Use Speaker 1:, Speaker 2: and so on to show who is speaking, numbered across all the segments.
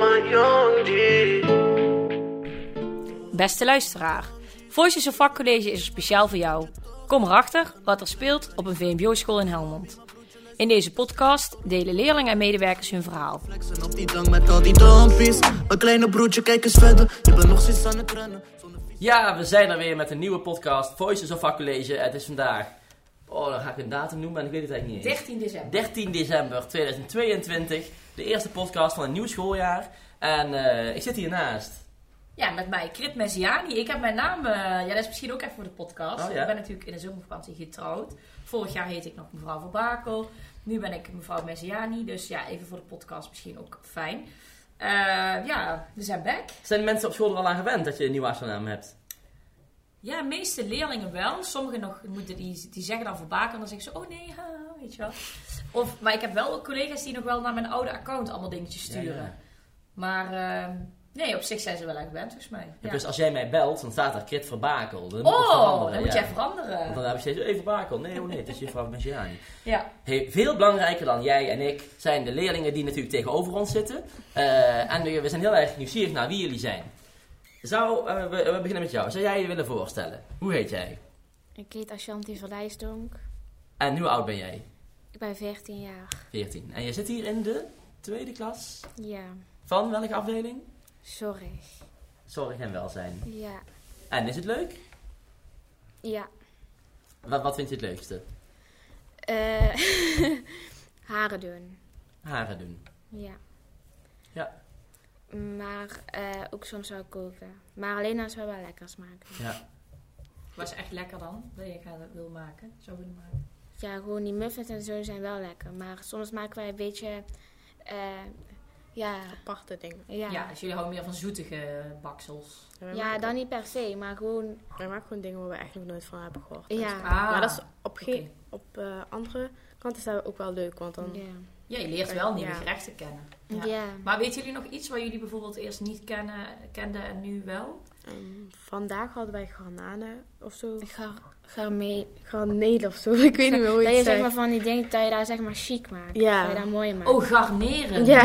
Speaker 1: Young G.
Speaker 2: Beste luisteraar, Voices of Vakcollege is er speciaal voor jou. Kom erachter wat er speelt op een VMBO-school in Helmond. In deze podcast delen leerlingen en medewerkers hun verhaal.
Speaker 1: Flexen op die dang met al die dompies. Mijn kleine broertje, kijk eens verder. Je bent nog steeds aan het rennen. Zonder vies-
Speaker 3: Ja, we zijn er weer met een nieuwe podcast, Voices of Our College. Het is vandaag, oh dan ga ik een datum noemen en ik weet het eigenlijk niet eens.
Speaker 2: 13 december.
Speaker 3: 13 december 2022, de eerste podcast van een nieuw schooljaar. En eh, ik zit hiernaast.
Speaker 2: Ja, met mij, Crit Messiani. Ik heb mijn naam, eh, ja dat is misschien ook even voor de podcast.
Speaker 3: Oh, ja.
Speaker 2: Ik ben natuurlijk in de zomervakantie getrouwd. Vorig jaar heette ik nog mevrouw Verbakel. Nu ben ik mevrouw Messiani. Dus ja, even voor de podcast misschien ook fijn. Eh, ja, we zijn back.
Speaker 3: Zijn de mensen op school er al aan gewend dat je een nieuwe achternaam hebt?
Speaker 2: Ja, de meeste leerlingen wel. Sommigen nog moeten die, die zeggen dan verbaken en dan zeggen ze, oh nee, ha, weet je wel. Of, maar ik heb wel ook collega's die nog wel naar mijn oude account allemaal dingetjes sturen.
Speaker 3: Ja, ja.
Speaker 2: Maar ehm, nee, op zich zijn ze wel aan gewend volgens mij. Ja.
Speaker 3: Dus als jij mij belt, dan staat daar Krit Verbakel. Dan moet ik
Speaker 2: oh,
Speaker 3: veranderen,
Speaker 2: dan moet
Speaker 3: ja.
Speaker 2: jij
Speaker 3: Want
Speaker 2: veranderen.
Speaker 3: dan heb ik steeds, hey Verbakel, nee, oh nee, het is juffrouw Benjiani.
Speaker 2: Ja.
Speaker 3: Hey, veel belangrijker dan jij en ik zijn de leerlingen die natuurlijk tegenover ons zitten. Eh, en we, we zijn heel erg nieuwsgierig naar wie jullie zijn. Zou, eh, we, we beginnen met jou. Zou jij je willen voorstellen? Hoe heet jij?
Speaker 4: Ik heet Ashanti van Leijsdonk.
Speaker 3: En hoe oud ben jij?
Speaker 4: Ik ben 14 jaar.
Speaker 3: 14. En je zit hier in de tweede klas.
Speaker 4: Ja,
Speaker 3: Van welke afdeling?
Speaker 4: sorry.
Speaker 3: Zorg en welzijn.
Speaker 4: Ja,
Speaker 3: En is het leuk?
Speaker 4: ja.
Speaker 3: Wat, wat vind je het leukste?
Speaker 4: Eh haren doen.
Speaker 3: Haren doen.
Speaker 4: Ja.
Speaker 3: Ja.
Speaker 4: Maar eh, ook soms wel koken. Maar alleen als we wel lekkers maken.
Speaker 3: Ja.
Speaker 2: Was echt lekker dan, dat je gaat, wil maken, zou willen maken.
Speaker 4: Ja, gewoon die muffins en zo zijn wel lekker. Maar soms maken wij een beetje... eh, ja,
Speaker 5: aparte dingen.
Speaker 4: ja.
Speaker 2: Ja.
Speaker 4: ja.
Speaker 2: dus jullie houden meer van zoetige baksels.
Speaker 5: Wij maken,
Speaker 4: dan niet per se, maar gewoon...
Speaker 5: wij maken gewoon dingen waar we echt nog nooit van hebben gehoord.
Speaker 4: Ja.
Speaker 2: Ah.
Speaker 5: Maar dat is op, ge-
Speaker 2: Oké.
Speaker 5: op eh, andere kant is dat ook wel leuk, want dan...
Speaker 4: Ja.
Speaker 2: Ja, je leert wel nieuwe
Speaker 5: Ja.
Speaker 2: gerechten kennen. Ja.
Speaker 4: Ja.
Speaker 2: Maar weten jullie nog iets waar jullie bijvoorbeeld eerst niet kennen, kenden en nu wel?
Speaker 5: ehm, vandaag hadden wij garnalen of zo.
Speaker 4: Ik ga, ga mee.
Speaker 5: Garnelen of zo, ik weet niet meer hoe
Speaker 4: Dat
Speaker 5: je
Speaker 4: je
Speaker 5: het
Speaker 4: zeg maar
Speaker 5: zegt.
Speaker 4: van die dingen, dat je daar zeg maar chic maakt.
Speaker 5: eh, Ja.
Speaker 4: Dat je dat mooi maakt.
Speaker 2: Oh, garneren.
Speaker 5: Ja.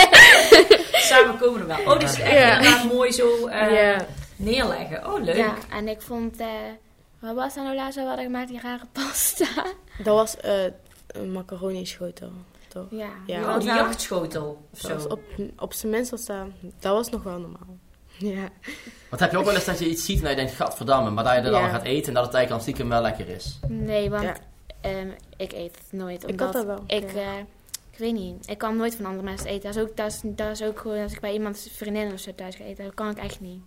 Speaker 2: Samen komen we wel. Oh, dus echt
Speaker 5: Ja.
Speaker 2: inderdaad mooi zo eh,
Speaker 5: Ja.
Speaker 2: neerleggen. Oh, leuk.
Speaker 4: Ja, en ik vond, eh, wat was dat nou laatst wat we hadden gemaakt, die rare pasta?
Speaker 5: Dat was eh een macaroni schotel, toch?
Speaker 4: Ja.
Speaker 5: Ja.
Speaker 2: Oh, die jachtschotel of
Speaker 5: Dat was
Speaker 2: zo.
Speaker 5: op, op zijn minst was dat... Dat was nog wel normaal. Ja.
Speaker 3: Want heb je ook wel eens dat je iets ziet en dat je denkt, gadverdamme, maar dat je er
Speaker 5: Ja.
Speaker 3: dan gaat eten en dat het eigenlijk al stiekem wel lekker is?
Speaker 4: Nee, want
Speaker 5: Ja.
Speaker 4: ehm, ik eet het nooit.
Speaker 5: had
Speaker 4: Omdat
Speaker 5: dat wel,
Speaker 4: Ik,
Speaker 5: ja.
Speaker 4: eh, ik weet niet, ik kan nooit van andere mensen eten. Dat is ook, dat is, dat is ook gewoon als ik bij iemands vriendin of zo thuis ga eten. Dat kan ik echt niet.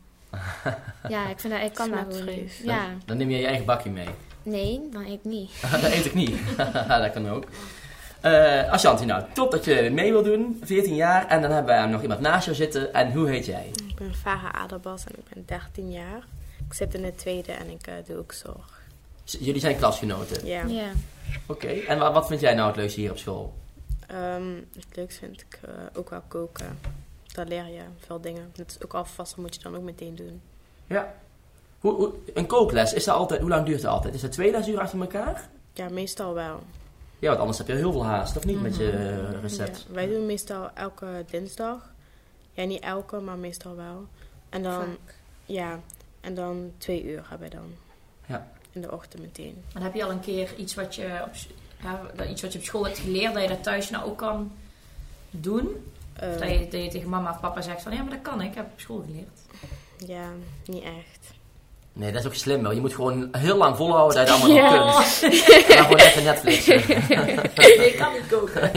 Speaker 4: ja, ik vind dat, ik kan dat
Speaker 5: Smaakt
Speaker 4: gewoon niet.
Speaker 5: vrees.
Speaker 3: Dan,
Speaker 4: Ja.
Speaker 3: dan neem je je eigen bakje mee.
Speaker 4: Nee, dan eet ik niet.
Speaker 3: dat eet ik niet. dat kan ook. Eh Ashanti, nou, top dat je mee wil doen. 14 jaar. En dan hebben we nog iemand naast jou zitten. En hoe heet jij?
Speaker 5: Ik ben Farah Aderbas en ik ben 13 jaar. Ik zit in het tweede en ik eh, doe ook zorg.
Speaker 3: Z- Jullie zijn klasgenoten.
Speaker 5: Ja.
Speaker 4: Ja.
Speaker 3: Oké. En wa- wat vind jij nou het leukste hier op school?
Speaker 5: Ehm, het leukste vind ik eh, ook wel koken. Daar leer je veel dingen. Dat is ook alvast, dat moet je dan ook meteen doen.
Speaker 3: Ja. Hoe, hoe- een kookles, is dat altijd, hoe lang duurt dat altijd? Is dat twee lesuren achter elkaar?
Speaker 5: Ja, meestal wel.
Speaker 3: Ja, want anders heb je heel veel haast, of niet, met je
Speaker 5: Mhm.
Speaker 3: eh, recept?
Speaker 5: Ja. Wij doen meestal elke dinsdag. Ja, niet elke, maar meestal wel. En dan,
Speaker 4: Vaak.
Speaker 5: ja, en dan twee uur hebben we dan.
Speaker 3: Ja.
Speaker 5: In de ochtend meteen.
Speaker 2: Dan heb je al een keer iets wat je op, s- ja, dat- iets wat je op school hebt geleerd, dat je dat thuis nou ook kan doen. Of dat,
Speaker 5: Ehm,
Speaker 2: je, dat je tegen mama of papa zegt van, ja, maar dat kan ik, ik heb op school geleerd.
Speaker 5: ja, niet echt.
Speaker 3: Nee, dat is ook slim wel. Je moet gewoon heel lang volhouden dat je het allemaal nog kunt. En dan gewoon even Netflixen.
Speaker 2: Oh, ik kan niet koken.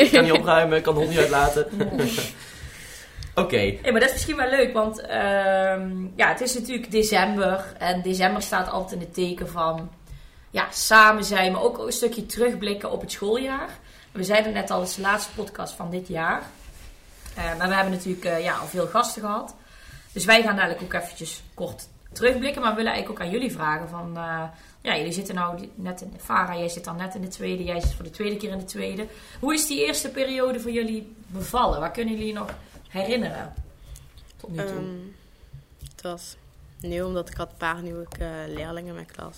Speaker 3: Ik kan niet opruimen, kan de hond niet uitlaten. Oké.
Speaker 2: Nee, maar dat is misschien wel leuk, want ehm, ja, het is natuurlijk december. En december staat altijd in het teken van ja, samen zijn, maar ook een stukje terugblikken op het schooljaar. We zeiden het net al, het is de laatste podcast van dit jaar. Eh, maar we hebben natuurlijk eh, ja, al veel gasten gehad. Dus wij gaan dadelijk ook eventjes kort terugblikken. Maar we willen eigenlijk ook aan jullie vragen van... eh, ja, jullie zitten nou die- net in... Farah, jij zit dan net in de tweede. Jij zit voor de tweede keer in de tweede. Hoe is die eerste periode voor jullie bevallen? Waar kunnen jullie je nog herinneren? Tot nu toe.
Speaker 5: Ehm, het was nieuw, omdat ik had een paar nieuwe eh, leerlingen in mijn klas.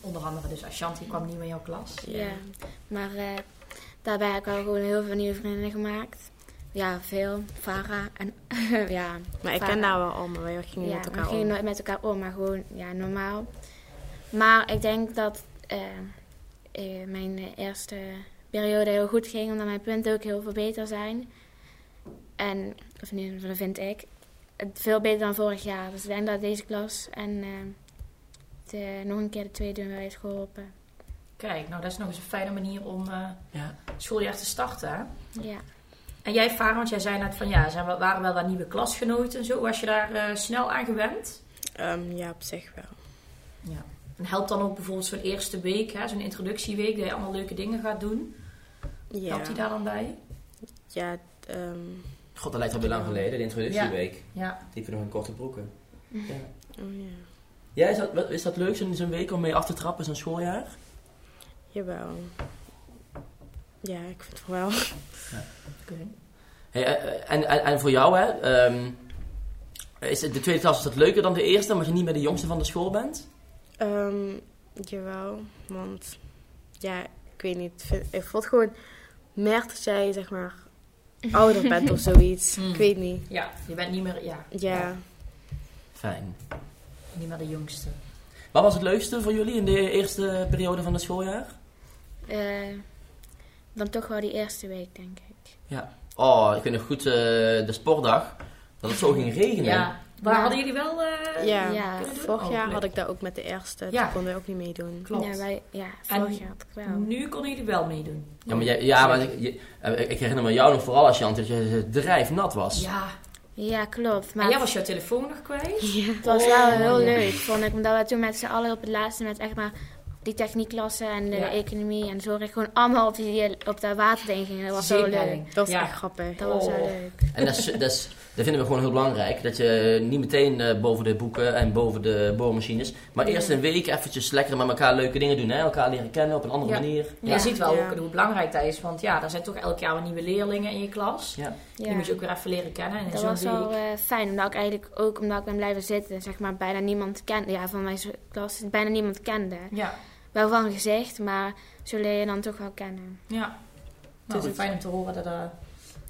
Speaker 2: Onder andere dus Ashanti kwam niet meer in jouw klas.
Speaker 4: Ja. Maar eh, daarbij heb ik wel gewoon heel veel nieuwe vriendinnen gemaakt. Ja, veel. Vara. En, ja,
Speaker 5: Maar ik ken daar wel allemaal, wij gingen
Speaker 4: ja,
Speaker 5: met
Speaker 4: we
Speaker 5: elkaar
Speaker 4: gingen
Speaker 5: om.
Speaker 4: nooit met elkaar om, maar gewoon ja, normaal. Maar ik denk dat eh, eh, mijn eh, eerste periode heel goed ging, omdat mijn punten ook heel veel beter zijn. En, of nu, dat vind ik. Het Veel beter dan vorig jaar. Dus ik denk dat deze klas en eh, de, nog een keer de eh, tweede doen heeft geholpen.
Speaker 2: Kijk, nou dat is nog eens een fijne manier om eh,
Speaker 3: Ja.
Speaker 2: het schooljaar te starten. Hè?
Speaker 4: Ja.
Speaker 2: En jij, Farah, want jij zei net van ja, zijn, we- waren wel wat nieuwe klasgenoten en zo. Was je daar eh, snel aan gewend?
Speaker 5: Ehm, ja, op zich wel.
Speaker 2: Ja. En helpt dan ook bijvoorbeeld zo'n eerste week, hè, zo'n introductieweek, dat je allemaal leuke dingen gaat doen?
Speaker 5: Ja,
Speaker 2: Helpt die daar dan bij?
Speaker 5: ja ehm,
Speaker 3: God, dat lijkt al weer lang geleden, de introductieweek.
Speaker 2: Ja.
Speaker 3: Liepen nog in korte broeken. Ja.
Speaker 5: oh ja.
Speaker 3: Jij, is dat, wat- is dat leuk, zo'n zo'n week om mee af te trappen, zo'n schooljaar?
Speaker 5: Jawel. Ja, ik vind het wel.
Speaker 2: Oké.
Speaker 3: Hey, eh, eh, en, en, en voor jou, hè? ehm, is het- de tweede klas is dat leuker dan de eerste, omdat je niet meer de jongste van de school bent?
Speaker 5: Ehm, jawel, want ja, ik weet niet. vind- Ik vond gewoon meer dat jij zeg maar ouder bent of zoiets.
Speaker 2: Hmm.
Speaker 5: Ik weet niet.
Speaker 2: Ja, je bent niet meer, ja,
Speaker 5: Ja,
Speaker 3: Fijn.
Speaker 2: niet meer de jongste.
Speaker 3: Wat was het leukste voor jullie in de eerste periode van het schooljaar?
Speaker 4: Eh, dan toch wel die eerste week, denk ik.
Speaker 3: Oh, ik weet nog goed eh, de sportdag. Dat het zo ging regenen.
Speaker 2: Ja. Maar
Speaker 4: Ja.
Speaker 2: hadden jullie wel... eh,
Speaker 5: ja.
Speaker 4: Ja.
Speaker 2: kunnen doen?
Speaker 5: Vorig
Speaker 2: Oh,
Speaker 5: jaar
Speaker 2: leuk.
Speaker 5: had ik dat ook met de eerste.
Speaker 2: Ja.
Speaker 5: Toen konden we ook niet meedoen.
Speaker 2: Klopt.
Speaker 4: Ja, wij, ja vorig jaar had ik wel.
Speaker 2: Nu konden jullie wel meedoen.
Speaker 3: Ja, maar, jij- ja, maar ik, je- eh, ik herinner me jou nog vooral als Jan, dat je drijfnat was.
Speaker 2: Ja.
Speaker 4: Ja, klopt. Maar
Speaker 2: En jij was jouw telefoon nog kwijt?
Speaker 4: Het was wel heel leuk, vond ik. Omdat we toen met z'n allen op het laatste met echt maar die techniekklasse en de
Speaker 2: Ja.
Speaker 4: economie en zorg gewoon allemaal op, die, op dat waterding gingen. Dat was zo leuk.
Speaker 2: Zeepleiding.
Speaker 5: Dat was
Speaker 2: ja.
Speaker 5: echt grappig.
Speaker 4: Dat was
Speaker 2: Oh.
Speaker 4: wel leuk.
Speaker 3: En dat, is, dat, is- dat vinden we gewoon heel belangrijk. Dat je niet meteen eh, boven de boeken en boven de boormachines. Maar eerst een week eventjes lekker met elkaar leuke dingen doen. Hè? Elkaar leren kennen op een andere
Speaker 2: Ja.
Speaker 3: manier.
Speaker 2: Je ziet wel
Speaker 5: Ja.
Speaker 2: ook hoe belangrijk dat is. Want ja, er zijn toch elk jaar weer nieuwe leerlingen in je klas.
Speaker 3: Ja.
Speaker 2: Die
Speaker 4: Ja.
Speaker 2: moet je ook weer even leren kennen. En in
Speaker 4: Dat
Speaker 2: zo'n
Speaker 4: was wel
Speaker 2: week...
Speaker 4: eh, fijn, omdat ik eigenlijk ook omdat ik ben blijven zitten, zeg maar, bijna niemand kende. Ja, van mijn zo- klas bijna niemand kende.
Speaker 2: Ja,
Speaker 4: Wel van gezegd, maar zo leer je dan toch wel kennen.
Speaker 2: ja. Nou,
Speaker 3: goed.
Speaker 2: fijn om te horen dat het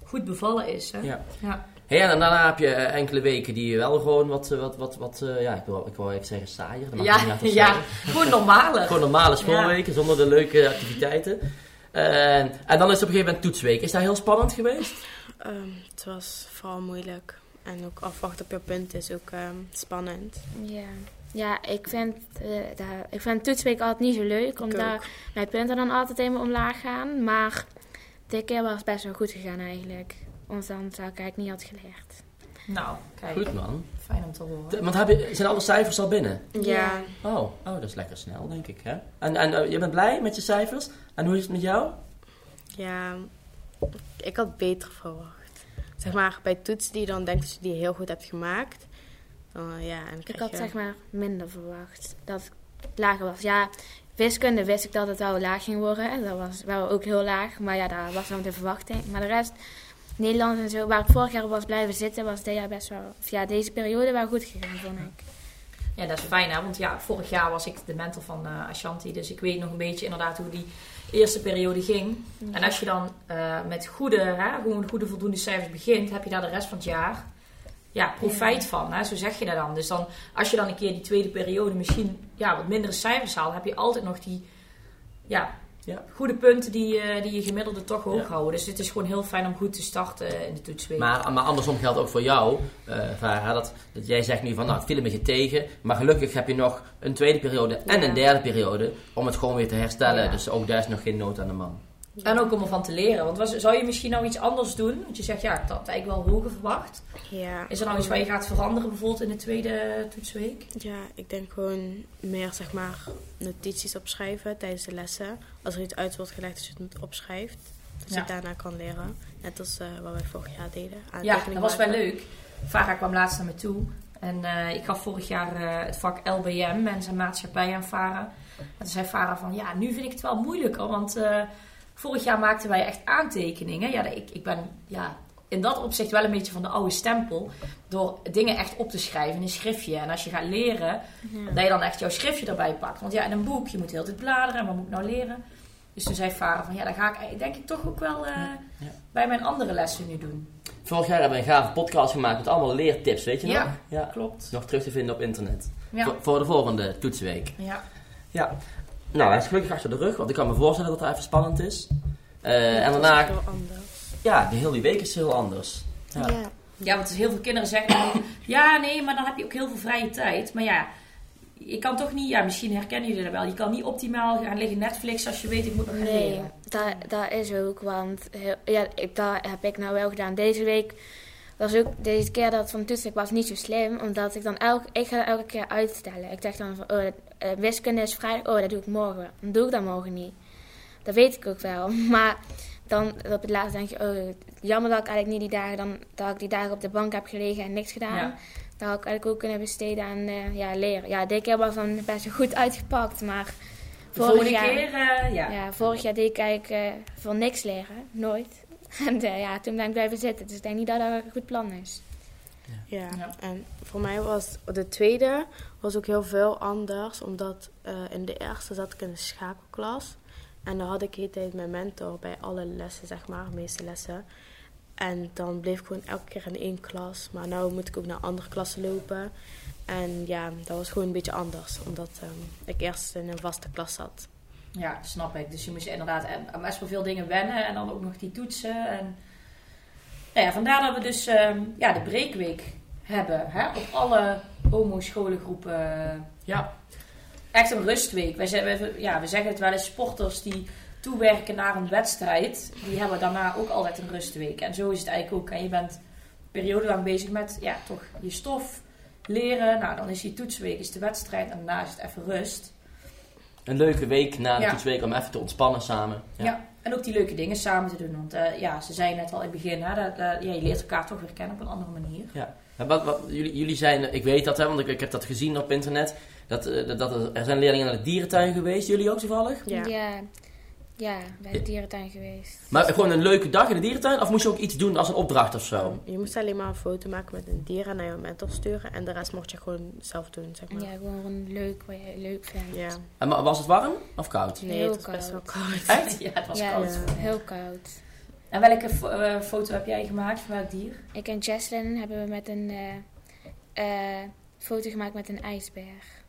Speaker 2: goed bevallen is. Hè?
Speaker 3: Ja.
Speaker 2: Ja.
Speaker 3: Hey, en daarna heb je eh, enkele weken die je wel gewoon wat, eh, wat, wat, wat eh, ja, ik wil, ik wil even zeggen saaier. Dat mag
Speaker 2: Ja,
Speaker 3: niet echt
Speaker 2: ja,
Speaker 3: zeggen.
Speaker 2: gewoon normaler.
Speaker 3: Gewoon normale schoolweken zonder de leuke activiteiten. Eh, en dan is het op een gegeven moment toetsweek. Is dat heel spannend geweest?
Speaker 5: Ehm, het was vooral moeilijk. En ook afwachten op je punt is ook ehm, spannend.
Speaker 4: Ja, ja ik, vind, eh, da- ik vind toetsweek altijd niet zo leuk, omdat mijn punten dan altijd helemaal omlaag gaan. Maar dit keer was het best wel goed gegaan eigenlijk. Ons dan zou ik eigenlijk niet had geleerd.
Speaker 2: Nou, kijk,
Speaker 3: Goed man.
Speaker 2: fijn om te horen.
Speaker 3: De- Want heb je, zijn alle cijfers al binnen?
Speaker 5: Ja,
Speaker 3: Oh, oh, dat is lekker snel, denk ik. Hè? En, en eh, je bent blij met je cijfers? En hoe is het met jou?
Speaker 5: ja. Ik had beter verwacht. Zeg maar, bij toetsen die je dan denkt dat je die heel goed hebt gemaakt. Dan, eh, ja, en dan
Speaker 4: Ik
Speaker 5: krijg
Speaker 4: had
Speaker 5: je-
Speaker 4: zeg maar minder verwacht dat het lager was. Ja, wiskunde wist ik dat het wel laag ging worden. En dat was wel ook heel laag, maar ja, dat was dan de verwachting. Maar de rest, Nederlands en zo, waar ik vorig jaar op was blijven zitten, was dit jaar best wel, of ja, deze periode wel goed gegaan, vond ik.
Speaker 2: Ja, dat is fijn hè, want ja, vorig jaar was ik de mentor van eh, Ashanti, dus ik weet nog een beetje inderdaad hoe die eerste periode ging. En als je dan eh, met goede, hè, gewoon goede voldoende cijfers begint, heb je daar de rest van het jaar ja, profijt van, hè, zo zeg je dat dan. Dus dan, als je dan een keer die tweede periode misschien ja, wat mindere cijfers haalt, heb je altijd nog die ja,
Speaker 3: Ja.
Speaker 2: goede punten die, eh, die je gemiddelde toch hoog
Speaker 3: Ja.
Speaker 2: houden. Dus het is gewoon heel fijn om goed te starten in de toetsweek.
Speaker 3: Maar, maar andersom geldt ook voor jou, eh Farah, dat, dat jij zegt nu van, nou, het viel een beetje tegen. Maar gelukkig heb je nog een tweede periode en
Speaker 5: Ja.
Speaker 3: een derde periode om het gewoon weer te herstellen.
Speaker 2: Ja.
Speaker 3: Dus ook daar is nog geen nood aan de man.
Speaker 2: En ook om ervan te leren. Want was, zou je misschien nou iets anders doen? Want je zegt, ja, ik had eigenlijk wel hoger verwacht.
Speaker 5: Ja.
Speaker 2: Is er nou iets waar je gaat veranderen bijvoorbeeld in de tweede toetsweek?
Speaker 5: Ja, ik denk gewoon meer zeg maar notities opschrijven tijdens de lessen. Als er iets uit wordt gelegd, dat je het moet opschrijft. Dat je
Speaker 2: Ja.
Speaker 5: het daarna kan leren. Net als eh, wat wij vorig jaar deden.
Speaker 2: Ja,
Speaker 5: aantekeningen
Speaker 2: dat was wel
Speaker 5: maken.
Speaker 2: leuk. Vara kwam laatst naar me toe. En eh, ik gaf vorig jaar eh, het vak LBM, Mens en Maatschappij, aan Vara. En toen zei Vara van, ja, nu vind ik het wel moeilijker. Want eh, vorig jaar maakten wij echt aantekeningen. Ja, ik, ik ben ja, in dat opzicht wel een beetje van de oude stempel. Door dingen echt op te schrijven in een schriftje. En als je gaat leren, dat je dan echt jouw schriftje erbij pakt. Want ja, in een boek, je moet heel dit bladeren. En wat moet ik nou leren? Dus toen zei Farah van ja, dan ga ik denk ik toch ook wel eh,
Speaker 3: Ja.
Speaker 2: bij mijn andere lessen nu doen.
Speaker 3: Vorig jaar hebben we een gave podcast gemaakt met allemaal leertips, weet je
Speaker 2: Ja,
Speaker 3: nog? Ja.
Speaker 2: Klopt.
Speaker 3: Nog terug te vinden op internet.
Speaker 2: Ja.
Speaker 3: Voor, voor de volgende toetsweek.
Speaker 2: ja.
Speaker 3: Ja. Nou, hij is gelukkig achter de rug, want ik kan me voorstellen dat het even spannend is. Eh, en daarna,
Speaker 5: Heel anders.
Speaker 3: ja, de hele week is heel anders. Ja.
Speaker 5: Ja.
Speaker 2: Ja, want dus heel veel kinderen zeggen dan, ja, nee, maar dan heb je ook heel veel vrije tijd. Maar ja, je kan toch niet, ja, misschien herkennen jullie dat wel. Je kan niet optimaal gaan liggen Netflix als je weet, ik moet nog gaan
Speaker 4: Nee,
Speaker 2: leren.
Speaker 4: dat, dat is ook, want heel- ja, ik, dat heb ik nou wel gedaan. Deze week was ook, deze keer dat het van toetsen was niet zo slim, omdat ik dan elke, ik ga elke keer uitstellen. Ik dacht dan van, oh, dat- eh, wiskunde is vrijdag, oh, dat doe ik morgen. Dan doe ik dat morgen niet. Dat weet ik ook wel, maar dan op het laatst denk je, oh, jammer dat ik eigenlijk niet die dagen, dan, dat ik die dagen op de bank heb gelegen en niks gedaan.
Speaker 2: Ja.
Speaker 4: Dat had ik eigenlijk ook kunnen besteden aan eh, ja, leren. Ja, dit keer was dan best wel goed uitgepakt, maar
Speaker 2: De
Speaker 4: vorig
Speaker 2: volgende
Speaker 4: jaar...
Speaker 2: keer, eh, ja.
Speaker 4: Ja, vorig jaar deed ik eigenlijk eh, voor niks leren. Nooit. En eh, ja, toen ben ik blijven zitten. Dus ik denk niet dat dat een goed plan is.
Speaker 5: Ja.
Speaker 2: Ja.
Speaker 5: en voor mij was de tweede was ook heel veel anders, omdat eh, in de eerste zat ik in een schakelklas. En dan had ik de hele tijd mijn mentor bij alle lessen, zeg maar, de meeste lessen. En dan bleef ik gewoon elke keer in één klas. Maar nu moet ik ook naar andere klassen lopen. En ja, dat was gewoon een beetje anders, omdat ehm, ik eerst in een vaste klas zat.
Speaker 2: Ja, snap ik. Dus je moest inderdaad aan- aan best wel veel dingen wennen en dan ook nog die toetsen. En... Nou ja, vandaar dat we dus ehm, ja, de breekweek hebben hè? op alle homo-scholengroepen.
Speaker 3: Ja.
Speaker 2: Echt een rustweek. Wij zijn, wij- ja, we zeggen het wel eens, sporters die toewerken naar een wedstrijd, die hebben daarna ook altijd een rustweek. En zo is het eigenlijk ook. En je bent een periode lang bezig met ja, toch je stof leren. Nou, dan is die toetsweek, is de wedstrijd en daarna is het even rust.
Speaker 3: Een leuke week na de
Speaker 2: Ja.
Speaker 3: toetsweek om even te ontspannen samen.
Speaker 2: Ja. en ook die leuke dingen samen te doen. Want eh, ja, ze zei net al in het begin, hè, dat, dat- ja, je leert elkaar toch weer kennen op een andere manier.
Speaker 3: Maar Wat, wat, jullie, jullie zijn, ik weet dat hè, want ik, ik heb dat gezien op internet. Dat, eh, dat, dat er- er zijn leerlingen naar de dierentuin geweest, jullie ook toevallig?
Speaker 5: Ja.
Speaker 4: ja, Ja, bij de dierentuin geweest.
Speaker 3: Maar gewoon een leuke dag in de dierentuin? Of moest je ook iets doen als een opdracht of zo?
Speaker 5: Je moest alleen maar een foto maken met een dier en naar je mentor sturen. En de rest mocht je gewoon zelf doen, zeg maar.
Speaker 4: Ja, gewoon leuk wat je leuk vindt.
Speaker 5: Ja.
Speaker 3: En wa- was het warm of koud?
Speaker 5: Nee,
Speaker 4: Heel
Speaker 5: het was best wel koud.
Speaker 3: Echt?
Speaker 2: Ja, het was
Speaker 4: Ja,
Speaker 2: koud.
Speaker 5: ja.
Speaker 4: Heel koud.
Speaker 2: En welke fo- eh, foto heb jij gemaakt van welk dier?
Speaker 4: Ik en Jesslyn hebben we met een eh, eh, foto gemaakt met een ijsberg.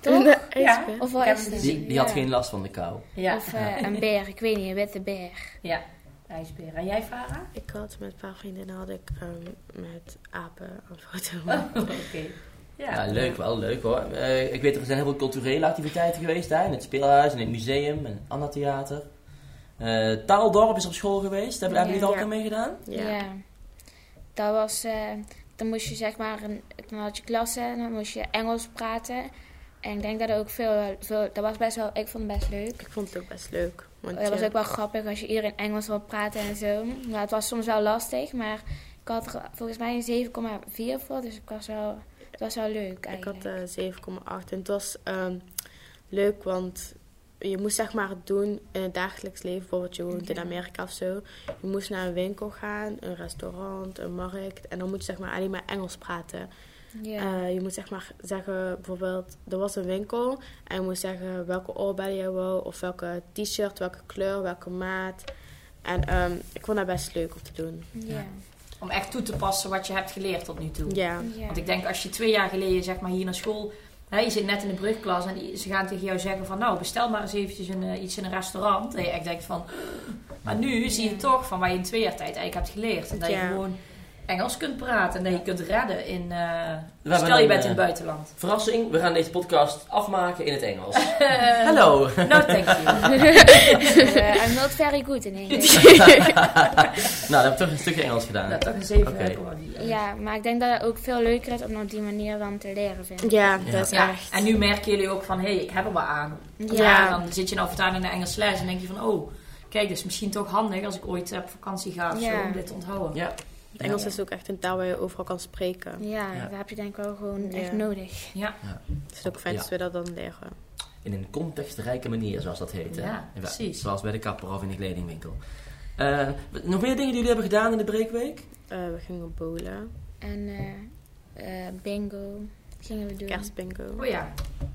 Speaker 4: Toch?
Speaker 2: Ja.
Speaker 5: Ijsbeer.
Speaker 4: Of wel
Speaker 2: Ik heb
Speaker 4: is
Speaker 2: hem
Speaker 4: het-
Speaker 2: gezien.
Speaker 3: Die, die had
Speaker 4: Ja.
Speaker 3: geen last van de kou.
Speaker 2: Ja,
Speaker 4: Of eh, een beer, ik weet niet, een witte beer.
Speaker 2: ja. ijsbeer. En jij, Farah?
Speaker 5: Ik had met een paar vriendinnen had ik ehm, met apen een foto
Speaker 2: Oh,
Speaker 5: gemaakt.
Speaker 2: Oké. Ja.
Speaker 3: Ja, leuk wel, leuk hoor. Eh, ik weet er zijn heel veel culturele activiteiten geweest daar. In het speelhuis, in het museum, in het Annatheater. Eh, Taaldorp is op school geweest. Hebben hebben jullie
Speaker 4: Ja.
Speaker 3: daar
Speaker 5: Ja.
Speaker 3: ook aan meegedaan?
Speaker 5: Ja.
Speaker 4: Dat was, eh, dan moest je zeg maar, een, dan had je klasse en dan moest je Engels praten. En ik denk dat er ook veel, veel, dat was best wel, ik vond het best leuk.
Speaker 5: Ik vond het ook best leuk. Want
Speaker 4: Dat Oh was
Speaker 5: ja,
Speaker 4: ook wel grappig als je iedereen Engels wil praten en zo. Maar het was soms wel lastig, maar ik had er volgens mij een 7,4 voor, dus ik was wel, het was wel leuk
Speaker 5: ik had
Speaker 4: eigenlijk.
Speaker 5: eh, 7,8 en het was ehm, leuk, want je moest zeg maar doen in het dagelijks leven. Bijvoorbeeld je woont in Amerika of zo. Je moest naar een winkel gaan, een restaurant, een markt. En dan moet je zeg maar alleen maar Engels praten.
Speaker 4: ja.
Speaker 5: Eh, je moet zeg maar zeggen, bijvoorbeeld, er was een winkel en je moet zeggen welke oorbellen je wou of welke t-shirt, welke kleur, welke maat. En ehm, ik vond dat best leuk om te doen.
Speaker 4: ja.
Speaker 2: Om echt toe te passen wat je hebt geleerd tot nu toe.
Speaker 5: Ja,
Speaker 4: ja.
Speaker 2: Want ik denk als je twee jaar geleden zeg maar, hier naar school... Hè, je zit net in de brugklas en die- ze gaan tegen jou zeggen van... nou, bestel maar eens eventjes een, eh, iets in een restaurant. En je echt denkt van... Maar nu zie je toch van waar je in twee jaar tijd eigenlijk hebt geleerd. En dat je
Speaker 5: Ja.
Speaker 2: gewoon Engels kunt praten en dat je kunt redden in... eh,
Speaker 3: hebben
Speaker 2: stel je
Speaker 3: een,
Speaker 2: bent in het
Speaker 3: eh,
Speaker 2: buitenland.
Speaker 3: Verrassing, we gaan deze podcast afmaken in het Engels. Hallo!
Speaker 2: No, Nou, thank you.
Speaker 4: Eh, I'm not very good in Engels.
Speaker 3: Nou, dan heb ik toch een stukje Engels gedaan.
Speaker 2: Dat toch een zeven
Speaker 3: Oké.
Speaker 2: hebben we.
Speaker 4: Ja, maar ik denk dat het ook veel leuker is om op die manier dan te leren, vind ik.
Speaker 5: ja, dat is
Speaker 2: Ja,
Speaker 5: echt.
Speaker 2: en nu merken jullie ook van, hé, hey, ik heb er wel aan.
Speaker 4: Ja.
Speaker 2: Ja, dan zit je nou vertaald in de Engelse les en denk je van, oh, kijk, dat is misschien toch handig als ik ooit op vakantie ga of
Speaker 4: Ja.
Speaker 2: zo, om dit te onthouden.
Speaker 3: Ja.
Speaker 5: Het Engels is ook echt een taal waar je overal kan spreken.
Speaker 4: Ja,
Speaker 3: Ja.
Speaker 4: dat heb je denk ik wel gewoon echt
Speaker 5: Ja.
Speaker 4: nodig.
Speaker 5: Het is ook fijn
Speaker 3: Ja.
Speaker 5: als we dat dan leren.
Speaker 3: In een contextrijke manier, zoals dat heet. hè?
Speaker 2: Ja, precies.
Speaker 3: Zoals bij de kapper of in de kledingwinkel. Eh, nog meer dingen die jullie hebben gedaan in de breekweek?
Speaker 5: Eh, we gingen bowlen,
Speaker 4: En eh, eh, bingo gingen we doen.
Speaker 5: kerstbingo.
Speaker 2: Oh ja.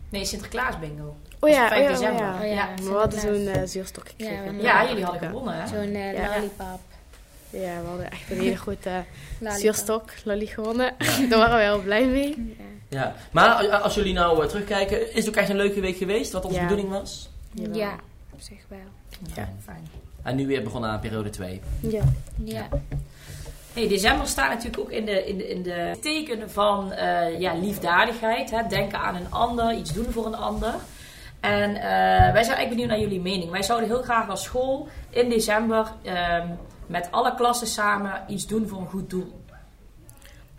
Speaker 2: Nee, Sinterklaas bingo.
Speaker 5: Oh ja,
Speaker 2: Dus
Speaker 5: oh
Speaker 2: 5
Speaker 5: ja, oh
Speaker 2: december.
Speaker 5: ja.
Speaker 4: Oh ja,
Speaker 2: Ja.
Speaker 5: Maar we hadden zo'n
Speaker 4: inderdaad.
Speaker 5: eh, zuurstok gekregen.
Speaker 4: Ja,
Speaker 2: Ja, jullie hadden gewonnen, hè?
Speaker 4: Zo'n eh,
Speaker 5: Ja.
Speaker 4: lollipop.
Speaker 5: Ja, we hadden echt een hele grote
Speaker 4: Lollipop.
Speaker 5: zuurstok, lolly gewonnen. Daar waren we heel blij mee.
Speaker 4: Ja.
Speaker 3: Ja. Maar als- als jullie nou eh, terugkijken, is het ook echt een leuke week geweest, wat onze
Speaker 5: Ja.
Speaker 3: bedoeling was?
Speaker 5: Jawel.
Speaker 4: ja, op zich wel.
Speaker 3: Ja.
Speaker 2: Fijn.
Speaker 3: En nu weer begonnen aan periode 2.
Speaker 5: Ja.
Speaker 4: Ja.
Speaker 2: Hey, december staat natuurlijk ook in de, in de, in de tekenen van eh, ja, liefdadigheid. Hè? Denken aan een ander, iets doen voor een ander. En eh, wij zijn eigenlijk benieuwd naar jullie mening. Wij zouden heel graag als school in december ehm, met alle klassen samen iets doen voor een goed doel.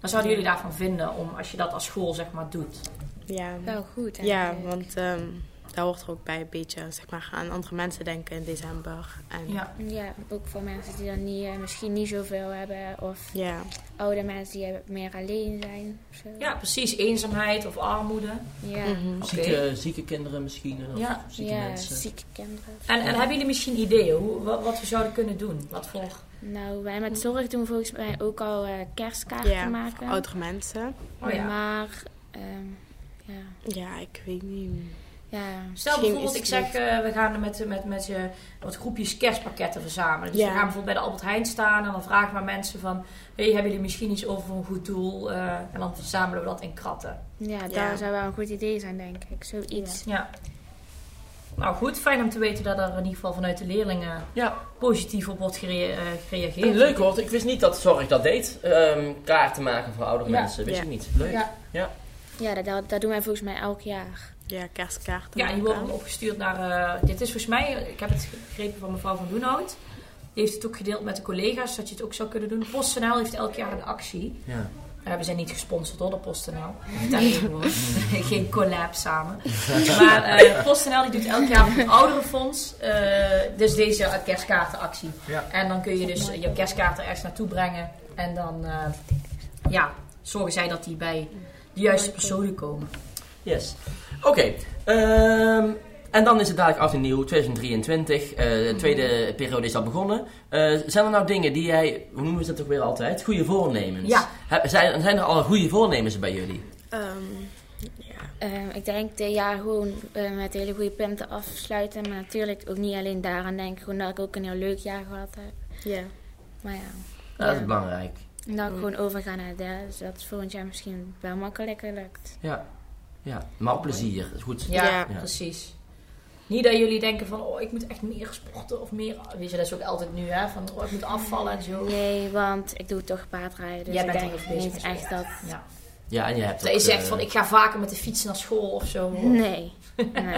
Speaker 2: Wat zouden jullie daarvan vinden om, als je dat als school zeg maar doet?
Speaker 5: Ja.
Speaker 4: Wel goed
Speaker 5: Ja,
Speaker 4: eigenlijk.
Speaker 5: want ehm, daar hoort er ook bij een beetje zeg maar, aan andere mensen denken in december. En,
Speaker 4: Ja, ook voor mensen die dan niet, eh, misschien niet zoveel hebben. Of
Speaker 5: Ja,
Speaker 4: oude mensen die eh, meer alleen zijn. of zo.
Speaker 2: ja, precies. Eenzaamheid of armoede.
Speaker 4: Ja.
Speaker 5: Mhm.
Speaker 2: Oké.
Speaker 3: Zieke, zieke kinderen misschien, of
Speaker 2: Ja.
Speaker 3: zieke
Speaker 4: Ja,
Speaker 3: mensen.
Speaker 4: zieke kinderen.
Speaker 2: En, en hebben jullie misschien ideeën hoe, wat, wat we zouden kunnen doen? Wat voor...
Speaker 4: Nou, wij met zorg doen volgens mij ook al eh, kerstkaarten
Speaker 5: Ja,
Speaker 4: maken.
Speaker 5: oudere mensen.
Speaker 2: Oh ja.
Speaker 4: Maar, ehm, ja.
Speaker 5: Ja, ik weet niet.
Speaker 4: ja.
Speaker 2: Stel
Speaker 5: Misschien
Speaker 2: bijvoorbeeld,
Speaker 5: is
Speaker 2: ik
Speaker 5: het
Speaker 2: zeg, eh, we gaan met, met, met je wat groepjes kerstpakketten verzamelen. Dus
Speaker 5: Ja.
Speaker 2: we gaan bijvoorbeeld bij de Albert Heijn staan en dan vragen we aan mensen van... hey, hebben jullie misschien iets over voor een goed doel? Eh, en dan verzamelen we dat in kratten.
Speaker 4: Ja, daar
Speaker 5: Ja.
Speaker 4: zou wel een goed idee zijn, denk ik. Zoiets.
Speaker 2: Ja. Nou goed, fijn om te weten dat er in ieder geval vanuit de leerlingen
Speaker 3: Ja,
Speaker 2: positief op wordt gere- eh, gereageerd.
Speaker 3: en leuk hoor. Ik wist niet dat Zorg dat deed. Ehm kaarten maken voor oudere
Speaker 2: Ja.
Speaker 3: mensen, wist
Speaker 5: Ja.
Speaker 3: ik niet. Leuk.
Speaker 2: Ja.
Speaker 4: Ja, dat- dat, dat doen wij volgens mij elk jaar.
Speaker 5: Ja, kerstkaarten.
Speaker 2: Ja, en je wordt
Speaker 5: maken.
Speaker 2: dan opgestuurd naar. eh, dit is volgens mij, ik heb het begrepen van mevrouw Van Doenhout. Die heeft het ook gedeeld met de collega's, dat je het ook zou kunnen doen. PostNL heeft elk jaar een actie.
Speaker 3: Ja.
Speaker 2: Eh, we zijn niet gesponsord door de PostNL. Vertel je gewoon. Geen collab samen. Maar eh, PostNL die doet elk jaar voor het ouderenfonds. eh, dus deze kerstkaartenactie.
Speaker 3: Ja.
Speaker 2: En dan kun je dus eh, je kerstkaarten ergens naartoe brengen. En dan eh, ja, zorgen zij dat die bij de juiste personen komen.
Speaker 3: Yes. Oké. ehm, en dan is het dadelijk oud en nieuw, 2023. eh,
Speaker 2: Mhm.
Speaker 3: de tweede periode is al begonnen. Eh, zijn er nou dingen die jij, hoe noemen ze dat ook weer altijd? Goede voornemens.
Speaker 2: Ja.
Speaker 3: Heb- zijn, zijn er al goede voornemens bij jullie?
Speaker 5: Ehm, ja.
Speaker 4: Ehm, ik denk dit jaar gewoon eh, met hele goede punten afsluiten. Maar natuurlijk ook niet alleen daaraan denken. Gewoon dat ik ook een heel leuk jaar gehad heb.
Speaker 5: ja.
Speaker 4: Maar ja.
Speaker 3: Ja, Dat is
Speaker 4: Ja.
Speaker 3: belangrijk.
Speaker 4: En dat ik gewoon overga naar het derde. Dus dat is volgend jaar misschien wel makkelijker lukt.
Speaker 3: Ja. Ja. Maar op plezier, dat is goed.
Speaker 2: Ja,
Speaker 5: Ja.
Speaker 2: precies. Niet dat jullie denken van, oh, ik moet echt meer sporten of meer... Weet je, dat is ook altijd nu, hè? Van, oh, ik moet afvallen en zo.
Speaker 4: Nee, want ik doe toch paardrijden. Dus
Speaker 2: Jij
Speaker 4: ik
Speaker 2: bent
Speaker 4: denk
Speaker 2: toch bezig
Speaker 4: niet
Speaker 2: met
Speaker 4: echt
Speaker 2: sport.
Speaker 4: dat...
Speaker 2: Ja.
Speaker 3: Ja, en je hebt
Speaker 2: Dat
Speaker 3: ook,
Speaker 2: je zegt
Speaker 3: eh,
Speaker 2: van, ik ga vaker met de fiets naar school of zo.
Speaker 4: Nee. nee.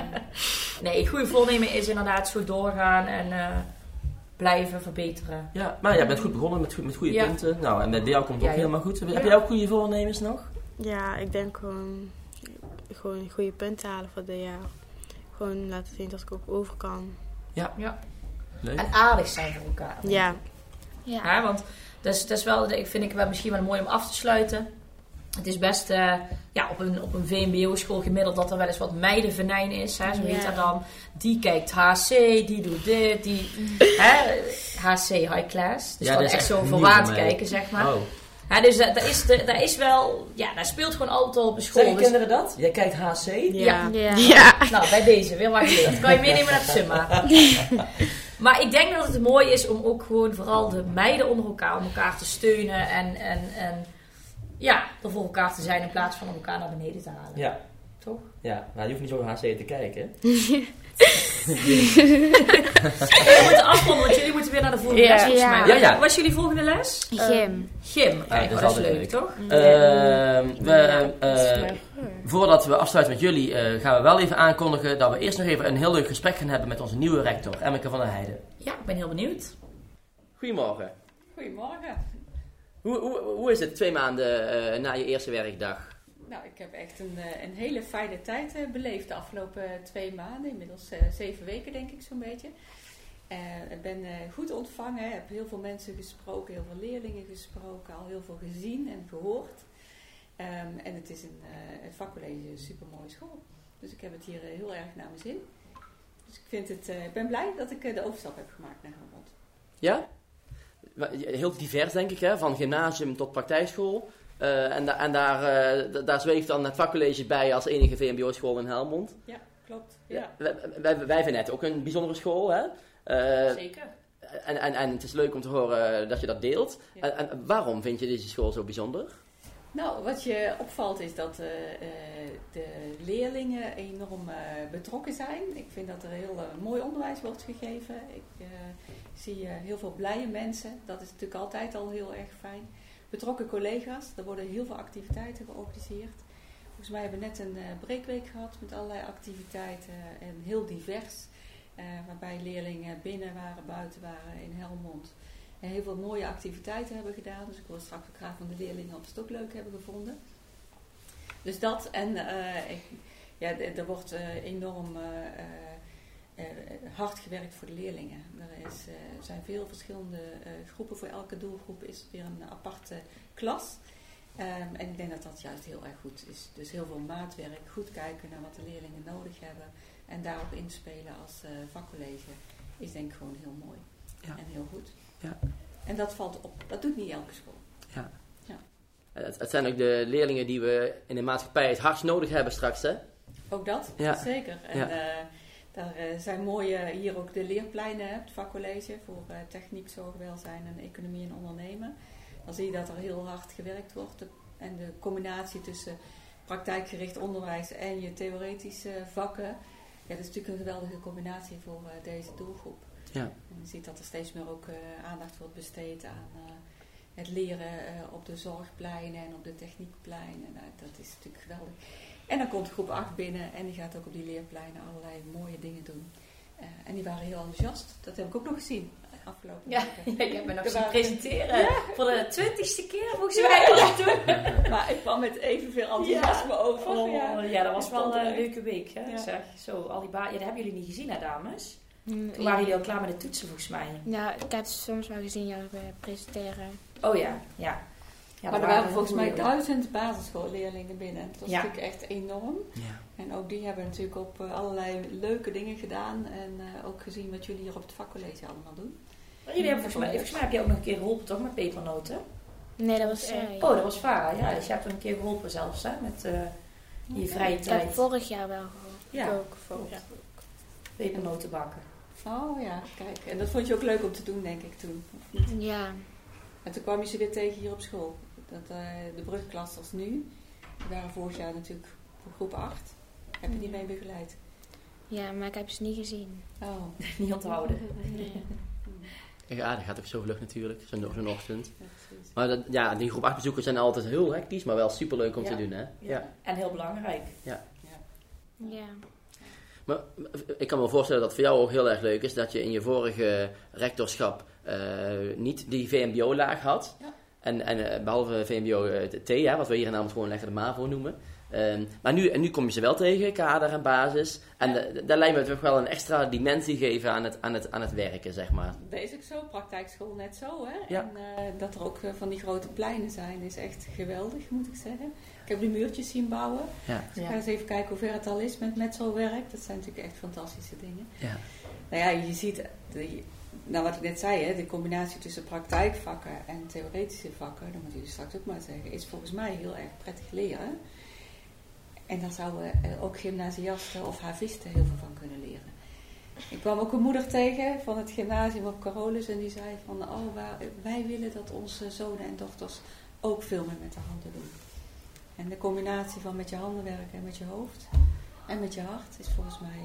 Speaker 2: Nee, het goede voornemen is inderdaad zo doorgaan en eh, blijven verbeteren.
Speaker 3: Ja, maar jij bent goed begonnen met, goed- met goede
Speaker 2: Ja.
Speaker 3: punten. Nou, en bij jou komt het
Speaker 2: Ja,
Speaker 3: ook
Speaker 2: ja.
Speaker 3: helemaal goed. Heb
Speaker 2: Ja.
Speaker 3: jij ook goede voornemens nog?
Speaker 5: ja, ik denk gewoon, gewoon goede punten halen voor dit jaar. Gewoon laten zien dat ik ook over kan.
Speaker 2: Ja.
Speaker 3: Leuk.
Speaker 2: En aardig zijn voor elkaar.
Speaker 5: Ja,
Speaker 4: Ja.
Speaker 2: Hè, want dat is, dat is wel, ik vind ik wel misschien wel mooi om af te sluiten. Het is best eh, ja, op een, op een VMBO-school gemiddeld dat er wel eens wat meidenvenijn is. Hè, zo heet
Speaker 4: Ja.
Speaker 2: dat dan. Die kijkt HC, die doet dit, die...
Speaker 3: Mm.
Speaker 2: hè, HC, high class. Dus
Speaker 3: Ja,
Speaker 2: gewoon echt
Speaker 3: dat is echt
Speaker 2: zo
Speaker 3: nieuw
Speaker 2: voorwaarts
Speaker 3: voor mij.
Speaker 2: kijken, zeg maar.
Speaker 3: Oh.
Speaker 2: Hè, dus dat, dat is, de- dat is wel... Ja, daar speelt gewoon altijd op een school.
Speaker 3: Zeggen
Speaker 2: Dus-
Speaker 3: kinderen dat? Jij kijkt HC?
Speaker 2: Ah.
Speaker 5: ja.
Speaker 4: Ja.
Speaker 5: Ja.
Speaker 2: Nou, bij deze, weer wat geleerd. Kan je meenemen naar de Summa. Maar ik denk dat het mooi is om ook gewoon vooral de meiden onder elkaar, om elkaar te steunen en, en, en ja, er voor elkaar te zijn in plaats van om elkaar naar beneden te halen.
Speaker 3: Ja.
Speaker 2: Toch?
Speaker 3: Ja, maar je hoeft niet zo HC te kijken.
Speaker 2: We moeten afronden, want jullie moeten weer naar de volgende
Speaker 4: Ja.
Speaker 2: les volgens mij.
Speaker 4: Ja.
Speaker 3: Ja, ja.
Speaker 2: Was jullie volgende les?
Speaker 4: Gym.
Speaker 2: Gym. Kijk, oh, dat
Speaker 3: dat is
Speaker 2: is
Speaker 3: altijd
Speaker 2: leuk,
Speaker 3: leuk.
Speaker 2: toch?
Speaker 3: Ehm, we,
Speaker 5: dat is
Speaker 3: eh,
Speaker 5: wel
Speaker 3: voordat we afsluiten met jullie, eh, gaan we wel even aankondigen dat we eerst nog even een heel leuk gesprek gaan hebben met onze nieuwe rector, Emmeke van der Heijden.
Speaker 2: Ja, ik ben heel benieuwd.
Speaker 3: Goedemorgen.
Speaker 6: Goedemorgen.
Speaker 3: Hoe, hoe, hoe is het twee maanden eh, na je eerste werkdag?
Speaker 6: Nou, ik heb echt een, eh, een hele fijne tijd eh, beleefd de afgelopen twee maanden. Inmiddels eh, zeven weken, denk ik zo'n beetje. Eh, ik ben eh, goed ontvangen, heb heel veel mensen gesproken, heel veel leerlingen gesproken, al heel veel gezien en gehoord. Ehm, en het is een, eh, het vakcollege een supermooie school. Dus ik heb het hier eh, heel erg naar mijn zin. Dus ik vind het, eh, ik ben blij dat ik eh, de overstap heb gemaakt naar Harvard.
Speaker 3: Ja? Wa- Heel divers denk ik, hè? van gymnasium tot praktijkschool. Eh, en da- en daar, eh, da- daar zweeft dan het vakcollege bij als enige VMBO-school in Helmond.
Speaker 6: Ja. Klopt.
Speaker 3: Ja.
Speaker 6: Ja,
Speaker 3: Wij, wij- wij vinden het ook een bijzondere school, hè? Eh,
Speaker 2: Zeker.
Speaker 3: en, en, en het is leuk om te horen dat je dat deelt.
Speaker 6: Ja.
Speaker 3: En, en waarom vind je deze school zo bijzonder?
Speaker 6: Nou, wat je opvalt is dat eh, eh, de leerlingen enorm eh, betrokken zijn. Ik vind dat er heel eh, mooi onderwijs wordt gegeven. Ik eh, zie eh, heel veel blije mensen. Dat is natuurlijk altijd al heel erg fijn. Betrokken collega's. Er worden heel veel activiteiten georganiseerd. Volgens mij hebben we net een eh, breekweek gehad met allerlei activiteiten en heel divers. eh, waarbij leerlingen binnen waren, buiten waren in Helmond en heel veel mooie activiteiten hebben gedaan. Dus ik wil straks ook graag van de leerlingen of ze het ook leuk hebben gevonden. Dus dat en eh, ik- ja, d- er wordt eh, enorm eh, eh, eh, hard gewerkt voor de leerlingen. Er is, eh, zijn veel verschillende eh, groepen. Voor elke doelgroep is weer een aparte klas. Ehm, en ik denk dat dat juist heel erg goed is. Dus heel veel maatwerk, goed kijken naar wat de leerlingen nodig hebben en daarop inspelen als eh, vakcollege is denk ik gewoon heel mooi
Speaker 3: Ja.
Speaker 6: en heel goed.
Speaker 3: Ja.
Speaker 6: En dat valt op. Dat doet niet elke school.
Speaker 3: Ja.
Speaker 6: Ja.
Speaker 3: Eh, Het, het zijn ook de leerlingen die we in de maatschappij het hardst nodig hebben straks, hè?
Speaker 6: Ook dat,
Speaker 3: Ja.
Speaker 6: zeker. En
Speaker 3: Ja.
Speaker 6: eh, daar eh, zijn mooie, hier ook de leerpleinen, hè, het vakcollege voor eh, techniek, zorg, welzijn en economie en ondernemen. Dan zie je dat er heel hard gewerkt wordt. De- En de combinatie tussen praktijkgericht onderwijs en je theoretische vakken. Ja, dat is natuurlijk een geweldige combinatie voor eh, deze doelgroep.
Speaker 3: Ja.
Speaker 6: En je ziet dat er steeds meer ook eh, aandacht wordt besteed aan eh, het leren eh, op de zorgpleinen en op de techniekpleinen. Nou, dat is natuurlijk geweldig. En dan komt groep 8 binnen en die gaat ook op die leerpleinen allerlei mooie dingen doen. Eh, en die waren heel enthousiast. Dat heb ik ook nog gezien eh, afgelopen
Speaker 2: Ja,
Speaker 6: weken.
Speaker 2: ja, jij bent nog
Speaker 6: Er
Speaker 2: zien
Speaker 6: waren-
Speaker 2: presenteren. Voor de twintigste keer volgens mij. was het toen.
Speaker 6: Maar ik kwam met evenveel enthousiasme over.
Speaker 2: Oh, ja. dat was wel
Speaker 6: stond er
Speaker 2: eh, een
Speaker 6: echt.
Speaker 2: leuke week. Hè?
Speaker 6: Ja.
Speaker 2: Zeg, zo, al die ba- ja, dat hebben jullie niet gezien, hè, dames?
Speaker 4: Mm,
Speaker 2: Toen waren jullie al klaar met de toetsen, volgens mij.
Speaker 4: Nou, ik heb het soms wel gezien jou eh, presenteren.
Speaker 2: Oh ja, ja. ja
Speaker 6: maar
Speaker 2: dat
Speaker 6: er waren volgens mij
Speaker 2: heel veel.
Speaker 6: duizend basisschoolleerlingen binnen. Dat was
Speaker 2: Ja.
Speaker 6: natuurlijk echt enorm.
Speaker 3: Ja.
Speaker 6: En ook die hebben natuurlijk op eh, allerlei leuke dingen gedaan. En eh, ook gezien wat jullie hier op het vakcollege allemaal doen.
Speaker 2: Maar Jullie hebben volgens mij, volgens mij heb je ook nog een keer geholpen, toch? Met pepernoten.
Speaker 4: Nee, dat was eh, zij.
Speaker 2: Oh, dat was Farah, ja. Dus je hebt hem een keer geholpen zelfs, hè? Met eh, je vrije
Speaker 4: Ik heb
Speaker 2: tijd.
Speaker 4: vorig jaar wel gehoord.
Speaker 2: Ja,
Speaker 4: ook voor.
Speaker 2: Ja. pepernoten bakken.
Speaker 6: Oh ja, kijk. En dat vond je ook leuk om te doen, denk ik, toen.
Speaker 4: Ja.
Speaker 6: En toen kwam je ze weer tegen hier op school. Dat, eh, de brugklassers nu, die waren vorig jaar natuurlijk voor groep 8. Heb je die mee begeleid?
Speaker 4: ja, maar ik heb ze niet gezien.
Speaker 6: Oh,
Speaker 2: Niet onthouden.
Speaker 4: Nee.
Speaker 3: Ja, dat gaat ook zo vlug natuurlijk, zo'n zo'n ochtend.
Speaker 6: ja, precies.
Speaker 3: Maar dat, ja, die groep 8 bezoekers zijn altijd heel hectisch, maar wel superleuk om
Speaker 6: Ja.
Speaker 3: te doen, hè?
Speaker 2: En heel belangrijk.
Speaker 4: Ja.
Speaker 3: Maar eh, ik kan me voorstellen dat het voor jou ook heel erg leuk is dat je in je vorige rectorschap eh, niet die VMBO-laag had.
Speaker 6: Ja.
Speaker 3: En, en eh, behalve VMBO-T, eh, hè, wat we hier in Amsterdam gewoon lekker de MAVO noemen. Ehm, maar nu, en nu kom je ze wel tegen, kader en basis. En
Speaker 6: Ja.
Speaker 3: eh, daar lijkt me toch wel een extra dimensie geven aan het, aan het, aan het werken, zeg maar.
Speaker 6: Dat is ook zo, praktijkschool net zo. Hè?
Speaker 3: Ja.
Speaker 6: En eh, dat er ook eh, van die grote pleinen zijn, is echt geweldig, moet ik zeggen. Ik heb die muurtjes zien bouwen.
Speaker 3: Ja.
Speaker 6: Ik ga eens even kijken hoe ver het al is met metselwerk. Dat zijn natuurlijk echt fantastische dingen.
Speaker 3: Ja.
Speaker 6: Nou ja, je ziet, de, nou wat ik net zei, hè, de combinatie tussen praktijkvakken en theoretische vakken, dat moeten jullie straks ook maar zeggen, is volgens mij heel erg prettig leren. En daar zouden eh, ook gymnasiasten of havisten heel veel van kunnen leren. Ik kwam ook een moeder tegen van het gymnasium op Carolus en die zei van, oh, wa- wij willen dat onze zonen en dochters ook veel meer met de handen doen. En de combinatie van met je handen werken en met je hoofd en met je hart is volgens mij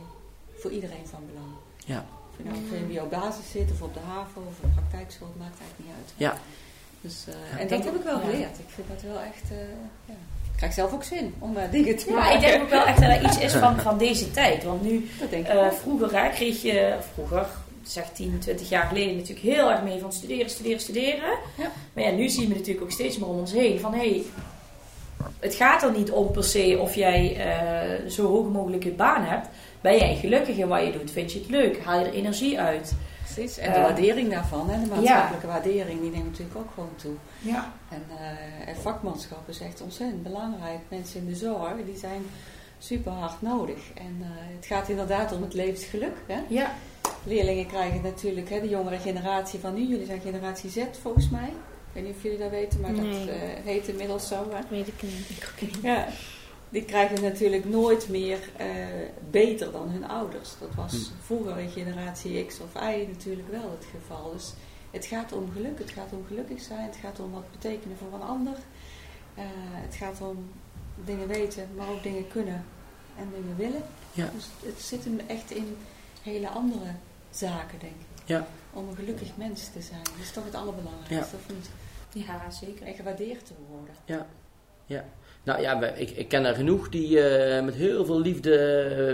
Speaker 6: voor iedereen van belang.
Speaker 3: Ja.
Speaker 6: Of je nou op VMBO basis zit of op de HAVO of op praktijkschool, het maakt eigenlijk niet uit.
Speaker 3: Ja.
Speaker 6: Dus, eh,
Speaker 3: Ja.
Speaker 6: En dat
Speaker 2: Ik-
Speaker 6: heb ik wel
Speaker 2: ja.
Speaker 6: geleerd. Ik vind dat wel echt... eh, ja. Ik krijg zelf ook zin om eh, dingen te
Speaker 2: Ja,
Speaker 6: maken.
Speaker 2: ik denk ook wel echt dat er iets is van, van deze tijd. Want nu,
Speaker 6: Dat denk ik
Speaker 2: eh,
Speaker 6: ook.
Speaker 2: vroeger hè, kreeg je, vroeger, zeg 10, 20 jaar geleden, natuurlijk heel erg mee van studeren, studeren, studeren.
Speaker 6: Ja.
Speaker 2: Maar ja, nu zien we natuurlijk ook steeds meer om ons heen van hé, hey, het gaat er niet om per se of jij eh, zo hoog mogelijk je baan hebt. Ben jij gelukkig in wat je doet? Vind je het leuk? Haal je er energie uit?
Speaker 6: Precies. En de
Speaker 2: eh,
Speaker 6: waardering daarvan, hè, de maatschappelijke waardering, die neemt natuurlijk ook gewoon toe.
Speaker 2: Ja.
Speaker 6: En, eh, en vakmanschap is echt ontzettend belangrijk. Mensen in de zorg, die zijn super hard nodig. En eh, het gaat inderdaad om het levensgeluk. Hè?
Speaker 2: Ja.
Speaker 6: Leerlingen krijgen natuurlijk, hè, de jongere generatie van nu, jullie zijn generatie Z volgens mij. Ik weet niet of jullie dat weten, maar
Speaker 4: Nee.
Speaker 6: dat eh, heet inmiddels zo. Hè?
Speaker 4: Weet ik niet.
Speaker 6: Ja. die krijgen het natuurlijk nooit meer eh, beter dan hun ouders. Dat was
Speaker 3: Hm.
Speaker 6: vroeger in generatie X of Y natuurlijk wel het geval. Dus het gaat om geluk, het gaat om gelukkig zijn, het gaat om wat betekenen voor een ander. Eh, het gaat om dingen weten, maar ook dingen kunnen en dingen willen.
Speaker 3: Ja.
Speaker 6: Dus het zit hem echt in hele andere zaken, denk ik.
Speaker 3: Ja.
Speaker 6: Om een gelukkig mens te zijn. Dat is toch het allerbelangrijkste, of niet?
Speaker 2: Ja, zeker.
Speaker 6: En gewaardeerd te worden.
Speaker 3: Nou ja, we- ik, ik ken er genoeg die eh, met heel veel liefde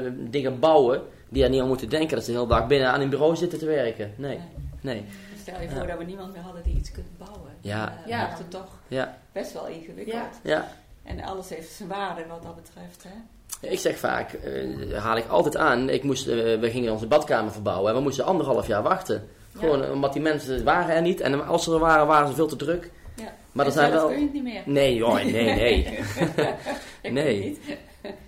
Speaker 3: eh, dingen bouwen. Die er niet aan moeten denken dat ze de hele dag binnen aan hun bureau zitten te werken. Nee, nee.
Speaker 6: Stel je
Speaker 3: Ja.
Speaker 6: voor dat we niemand meer hadden die iets kunt bouwen.
Speaker 3: Ja.
Speaker 6: Dan, eh,
Speaker 2: Ja.
Speaker 6: wordt het toch
Speaker 3: Ja.
Speaker 6: best wel ingewikkeld.
Speaker 2: Ja.
Speaker 3: Ja,
Speaker 6: En alles heeft zijn waarde wat dat betreft. Hè?
Speaker 3: ik zeg vaak, eh, haal ik altijd aan. Ik moest, eh, we gingen onze badkamer verbouwen en we moesten anderhalf jaar wachten. Gewoon eh, omdat die mensen waren er niet en als ze er waren, waren ze veel te druk.
Speaker 6: Ja.
Speaker 3: Maar er
Speaker 6: En
Speaker 3: zijn
Speaker 6: zelf
Speaker 3: wel.
Speaker 6: kun je het niet meer.
Speaker 3: Nee, joh, nee, nee.
Speaker 6: Ik
Speaker 3: Nee.
Speaker 6: weet het niet.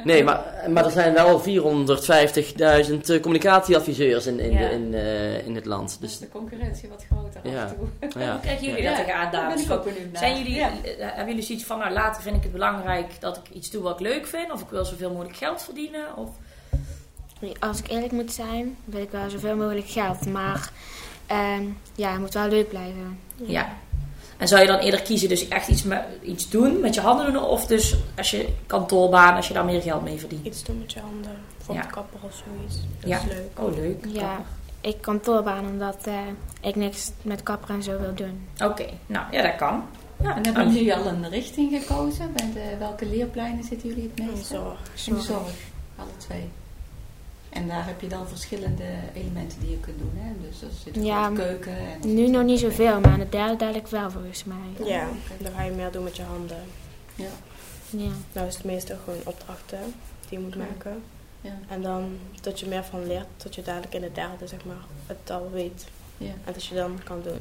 Speaker 3: Nee, maar, maar er zijn wel 450.000 eh, communicatieadviseurs in, in,
Speaker 2: Ja.
Speaker 3: de- in, eh, in het land.
Speaker 6: Dus
Speaker 3: Dus,
Speaker 6: de concurrentie wat groter
Speaker 3: Ja.
Speaker 6: af en toe.
Speaker 3: ja.
Speaker 2: Hoe kijken jullie
Speaker 6: Ja,
Speaker 2: daar tegenaan,
Speaker 6: Daar ben
Speaker 2: dames?
Speaker 6: ik ook benieuwd naar.
Speaker 2: Zijn jullie,
Speaker 6: Ja.
Speaker 2: eh, hebben jullie zoiets van, nou later vind ik het belangrijk dat ik iets doe wat ik leuk vind? Of ik wil zoveel mogelijk geld verdienen? Of...
Speaker 4: Als ik eerlijk moet zijn, wil ik wel zoveel mogelijk geld. Maar ehm, ja, het moet wel leuk blijven.
Speaker 2: Ja. En zou je dan eerder kiezen dus echt iets, met, iets doen, met je handen doen? Of dus als je kantoorbaan, als je daar meer geld mee verdient?
Speaker 7: Iets doen met je handen. Van
Speaker 2: Ja.
Speaker 7: de kapper of zoiets. Dat
Speaker 2: Ja.
Speaker 7: is leuk.
Speaker 2: Oh, leuk.
Speaker 4: Ja, ik kantoorbaan omdat eh, ik niks met kapper en zo wil doen.
Speaker 2: Oké, nou ja, dat kan. Ja,
Speaker 6: En hebben jullie al een richting gekozen? Bij de, welke leerpleinen zitten jullie het
Speaker 7: En
Speaker 6: meest?
Speaker 7: zorg.
Speaker 6: In de zorg, alle twee. En daar heb je dan verschillende elementen die je kunt doen. Hè? Dus er zit
Speaker 4: Ja.
Speaker 6: ja. keuken. En
Speaker 4: Nu nog niet zoveel, maar aan het derde dadelijk wel volgens mij.
Speaker 7: Ja, dan ga je meer doen met je handen.
Speaker 6: Ja.
Speaker 4: Ja.
Speaker 7: Nou is het meestal gewoon opdrachten die je moet
Speaker 6: Ja.
Speaker 7: maken.
Speaker 6: Ja.
Speaker 7: En dan dat je meer van leert, tot je dadelijk in de derde zeg maar het al weet.
Speaker 6: Ja.
Speaker 7: En dat je dan kan doen.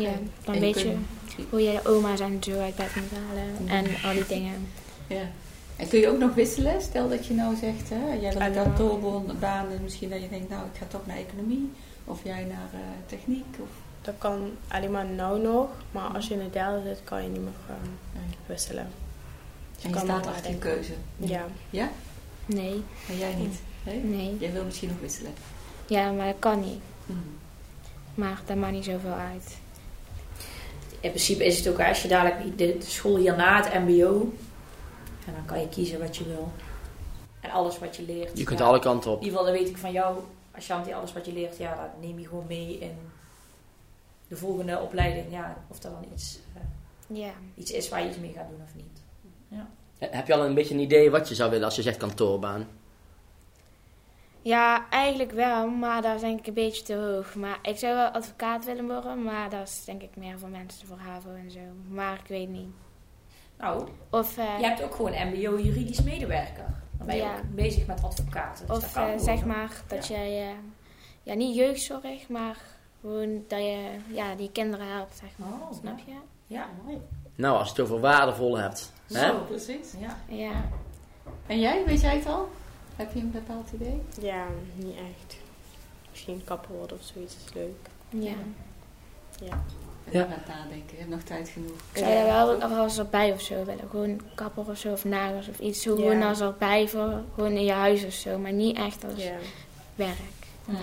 Speaker 4: Ja,
Speaker 6: En
Speaker 4: dan
Speaker 6: je
Speaker 4: weet je
Speaker 6: kunt-
Speaker 4: hoe je de oma's en zo uit bed moet halen. En al die dingen.
Speaker 6: Ja. En kun je ook nog wisselen? Stel dat je nou zegt, hè, jij wil
Speaker 7: Ah,
Speaker 6: een
Speaker 7: ja.
Speaker 6: kantoorbaan en misschien dat je denkt, nou ik ga toch naar economie. Of jij naar eh, techniek. Of,
Speaker 7: Dat kan alleen maar nou nog, maar als je in de derde zit, kan je niet meer eh,
Speaker 6: Nee.
Speaker 7: wisselen. Dus
Speaker 6: en je
Speaker 7: kan nog
Speaker 6: staat achter je
Speaker 7: nadenken.
Speaker 6: keuze.
Speaker 7: Ja,
Speaker 4: Nee,
Speaker 6: Maar jij niet. Nee?
Speaker 4: nee.
Speaker 6: Jij wil misschien nog wisselen.
Speaker 4: Ja, maar dat kan niet.
Speaker 6: Mhm.
Speaker 4: Maar dat maakt niet zoveel uit.
Speaker 2: In principe is het ook als je dadelijk de de school hierna het MBO. En dan kan je kiezen wat je wil. En alles wat je leert.
Speaker 3: Je kunt
Speaker 2: ja.
Speaker 3: alle kanten
Speaker 2: In
Speaker 3: op.
Speaker 2: ieder geval, dat weet ik van jou. Ashanti, alles wat je leert, ja, dat neem je gewoon mee in de volgende opleiding. Ja, of dat dan iets, eh,
Speaker 4: Ja.
Speaker 2: iets is waar je iets mee gaat doen of niet.
Speaker 3: Eh, Heb je al een beetje een idee wat je zou willen als je zegt kantoorbaan?
Speaker 4: Ja, eigenlijk wel, maar dat is denk ik een beetje te hoog. Maar ik zou wel advocaat willen worden, maar dat is denk ik meer voor mensen voor HAVO en zo. Maar ik weet niet.
Speaker 2: Nou,
Speaker 4: Of, eh,
Speaker 2: je hebt ook gewoon MBO juridisch medewerker. Dan ben je
Speaker 4: Ja.
Speaker 2: ook bezig met advocaten. Dus dat
Speaker 4: of
Speaker 2: kan
Speaker 4: eh,
Speaker 2: gewoon.
Speaker 4: zeg maar dat jij, eh, ja niet jeugdzorg, maar gewoon dat je ja, die kinderen helpt, zeg maar.
Speaker 2: Oh,
Speaker 4: Snap je?
Speaker 2: Ja, mooi.
Speaker 3: Nou, als je het over waardevol hebt. Hè?
Speaker 2: Zo.
Speaker 6: Precies.
Speaker 2: Ja.
Speaker 4: Ja.
Speaker 6: En jij, weet jij het al? Heb je een bepaald idee?
Speaker 7: ja, niet echt. Misschien kapper worden of zoiets is leuk.
Speaker 4: Ja.
Speaker 6: Ik
Speaker 3: Ja.
Speaker 6: ben aan het nadenken. Je hebt nog tijd genoeg.
Speaker 4: Ik zou daar wel ook als erbij of zo willen. Gewoon kapper of zo, of nagels of iets. Zo
Speaker 7: Ja.
Speaker 4: Gewoon als erbij voor, gewoon in je huis of zo. Maar niet echt als
Speaker 7: Ja.
Speaker 4: werk.
Speaker 6: Ja.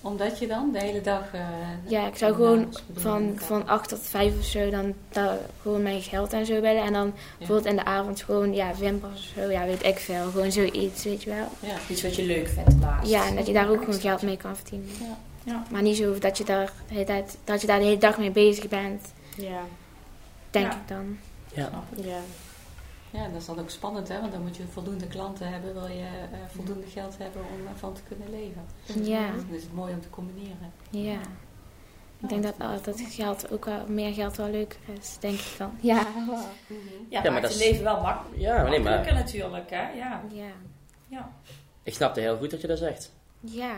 Speaker 6: Omdat je dan de hele dag... eh,
Speaker 4: Ja, ik zou
Speaker 6: en
Speaker 4: gewoon
Speaker 6: namens bedoelen
Speaker 4: van,
Speaker 6: elkaar.
Speaker 4: van 8 tot 5 of zo dan daar gewoon mijn geld en zo bellen. En dan bijvoorbeeld in de avond gewoon, ja, wimpers of zo, ja, weet ik veel. Gewoon zoiets, weet je wel.
Speaker 6: Ja.
Speaker 2: Iets wat je leuk vindt laatst.
Speaker 4: Ja, en dat je daar ook gewoon geld mee kan verdienen.
Speaker 6: Ja.
Speaker 2: Ja.
Speaker 4: Maar niet zo dat je, daar de hele tijd, dat je daar de hele dag mee bezig bent,
Speaker 7: Ja.
Speaker 4: denk
Speaker 2: Ja.
Speaker 4: ik dan.
Speaker 7: Ja.
Speaker 6: ja, dat is dan ook spannend, hè? Want dan moet je voldoende klanten hebben. Wil je eh, voldoende geld hebben om ervan te kunnen leven.
Speaker 4: Ja,
Speaker 6: Dus het is mooi om te combineren.
Speaker 4: ja. Ik denk dat altijd geld ook wel, meer geld wel leuker is, denk ik dan. Ja.
Speaker 2: Ja,
Speaker 3: maar
Speaker 2: maakt
Speaker 3: dat
Speaker 2: het
Speaker 3: is-
Speaker 2: leven wel mak
Speaker 3: Ja, maar nee,
Speaker 2: makkelijker
Speaker 3: maar
Speaker 2: natuurlijk, hè. Ja.
Speaker 4: Ja.
Speaker 3: ik snapte heel goed dat je dat zegt.
Speaker 4: Ja.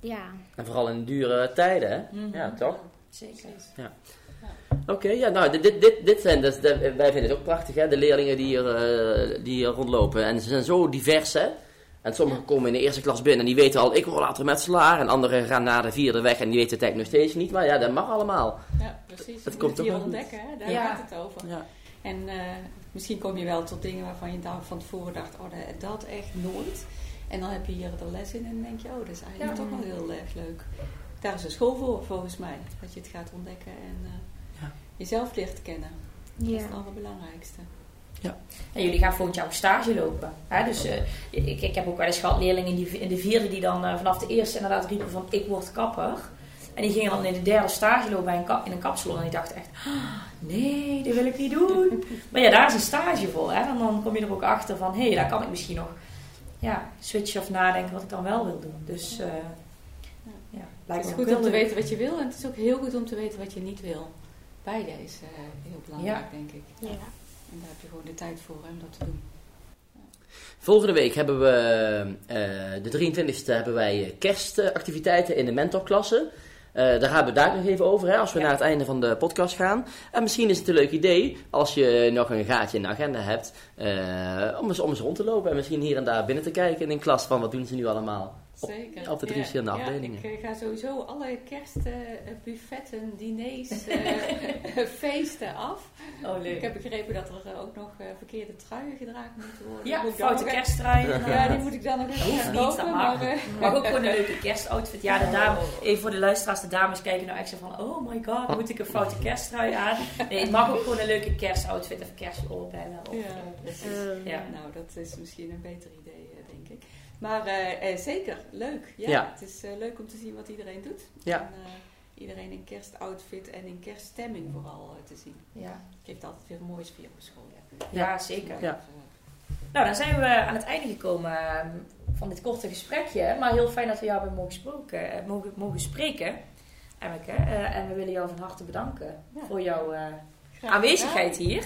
Speaker 4: Ja.
Speaker 3: En vooral in dure tijden, hè? Ja, toch?
Speaker 2: Zeker.
Speaker 3: Oké, ja, nou, dit- dit, dit, dit zijn, dat, dat- wij vinden het ook prachtig, hè, de leerlingen die hier, eh, die hier rondlopen. En ze zijn zo divers, hè. En sommigen komen in de eerste klas binnen en die weten al, ik word later metselaar. En anderen gaan naar de vierde weg en die weten het eigenlijk nog steeds niet. Maar ja, dat mag allemaal.
Speaker 6: Ja, precies.
Speaker 3: Het
Speaker 6: Je
Speaker 3: komt
Speaker 6: moet
Speaker 3: ook
Speaker 6: hier
Speaker 3: wel goed.
Speaker 6: ontdekken, hè? daar
Speaker 2: Ja.
Speaker 6: gaat het over.
Speaker 3: Ja.
Speaker 6: En eh, misschien kom je wel tot dingen waarvan je dan van tevoren dacht, oh, dat, dat echt nooit. En dan heb je hier de les in en dan denk je, oh, dat is eigenlijk toch wel heel erg leuk. Daar is een school voor, volgens mij. Dat je het gaat ontdekken en eh,
Speaker 3: Ja.
Speaker 6: jezelf leert kennen. Dat is
Speaker 4: Ja.
Speaker 6: het allerbelangrijkste.
Speaker 2: En jullie gaan volgend jaar op stage lopen. Hè?
Speaker 6: Oh.
Speaker 2: Dus eh, ik, ik heb ook wel eens gehad leerlingen die, in de vierde die dan eh, vanaf de eerste inderdaad riepen van ik word kapper. En die gingen dan in de derde stage lopen bij een kap, in een kapsalon. En die dacht echt, "Ah, nee, dat wil ik niet doen. Maar ja, daar is een stage voor. Hè? En dan kom je er ook achter van, hé, hey, daar kan ik misschien nog ja, switchen of nadenken wat ik dan wel wil doen. Dus eh ja,
Speaker 6: Het
Speaker 2: lijkt
Speaker 6: is
Speaker 2: me ook
Speaker 6: goed om
Speaker 2: heel
Speaker 6: te
Speaker 2: leuk.
Speaker 6: weten wat je wil en het is ook heel goed om te weten wat je niet wil. Beide is eh, heel belangrijk,
Speaker 2: Ja.
Speaker 6: denk ik.
Speaker 7: Ja.
Speaker 6: En daar heb je gewoon de tijd voor hè, om dat te doen.
Speaker 3: Volgende week hebben we, eh, de 23e, hebben wij eh, kerstactiviteiten in de mentorklasse. Eh, daar gaan we het daar nog even over, hè, als we naar het einde van de podcast gaan. En misschien is het een leuk idee, als je nog een gaatje in de agenda hebt, eh, om, eens, om eens rond te lopen en misschien hier en daar binnen te kijken in een klas van wat doen ze nu allemaal. Op-
Speaker 6: Zeker.
Speaker 3: op de drie verschillende afdelingen.
Speaker 6: ik eh, ga sowieso alle kerstbuffetten, buffetten, diners, eh, feesten af.
Speaker 2: Oh,
Speaker 6: Ik
Speaker 2: leuk.
Speaker 6: heb begrepen dat er eh, ook nog eh, verkeerde truien gedragen moeten worden.
Speaker 2: Ja,
Speaker 6: Moet ik dan
Speaker 2: foute
Speaker 6: nog-
Speaker 2: kerstdraaien.
Speaker 6: Ja, die moet ik dan nog even
Speaker 2: hoeft
Speaker 6: gaan
Speaker 2: niet,
Speaker 6: kopen,
Speaker 2: dat
Speaker 6: maar...
Speaker 2: mag.
Speaker 6: eh,
Speaker 2: Maar ook gewoon een leuke kerstoutfit. Ja, de dame, even voor de luisteraars, de dames kijken nou echt zo van... Oh my god, moet ik een foute kersttrui aan? Nee, het mag ook gewoon een leuke kerstoutfit of kerstlol bijna. Of,
Speaker 6: Ja, precies.
Speaker 2: ja.
Speaker 6: Nou, dat is misschien een beter idee, eh, denk ik. Maar eh, eh, zeker, leuk. Ja,
Speaker 3: Ja.
Speaker 6: Het is eh, leuk om te zien wat iedereen doet.
Speaker 3: Ja.
Speaker 6: En, eh, iedereen in kerstoutfit en in kerststemming vooral eh, te zien.
Speaker 2: Ja.
Speaker 6: Geeft altijd weer een mooie sfeer op school. Ja,
Speaker 2: ja, zeker.
Speaker 3: Ja.
Speaker 2: Nou, dan zijn we aan het einde gekomen eh, van dit korte gesprekje. Maar heel fijn dat we jou hebben mogen, gesproken, eh, mogen, mogen spreken, Emmeke. Eh, en we willen jou van harte bedanken
Speaker 6: Ja.
Speaker 2: voor jouw eh,
Speaker 6: Graag
Speaker 2: aanwezigheid hier.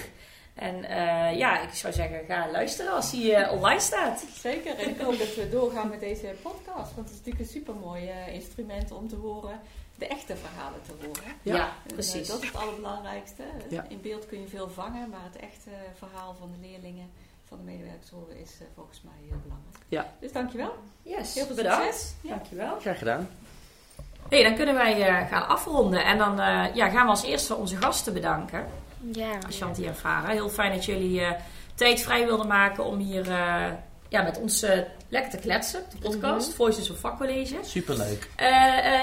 Speaker 2: En eh, ja, ik zou zeggen, ga luisteren als hij eh, online staat.
Speaker 6: Zeker, en ik hoop dat we doorgaan met deze podcast. Want het is natuurlijk een supermooi eh, instrument om te horen, de echte verhalen te horen.
Speaker 3: Ja.
Speaker 6: En, eh,
Speaker 2: precies.
Speaker 6: dat is het allerbelangrijkste.
Speaker 3: Ja.
Speaker 6: In beeld kun je veel vangen, maar het echte verhaal van de leerlingen, van de medewerkers horen, is eh, volgens mij heel belangrijk.
Speaker 3: Ja.
Speaker 6: Dus dankjewel.
Speaker 2: Yes,
Speaker 6: Heel veel
Speaker 2: bedankt.
Speaker 6: succes. Ja.
Speaker 2: Dankjewel.
Speaker 3: Graag gedaan.
Speaker 2: hey, dan kunnen wij eh, gaan afronden. En dan eh, ja, gaan we als eerste onze gasten bedanken.
Speaker 4: Ja.
Speaker 2: Ashanti en Farah. Heel fijn dat jullie eh, tijd vrij wilden maken om hier eh, ja, met ons eh, lekker te kletsen. De podcast, Voices of Vakcollege.
Speaker 3: Superleuk.
Speaker 2: Eh,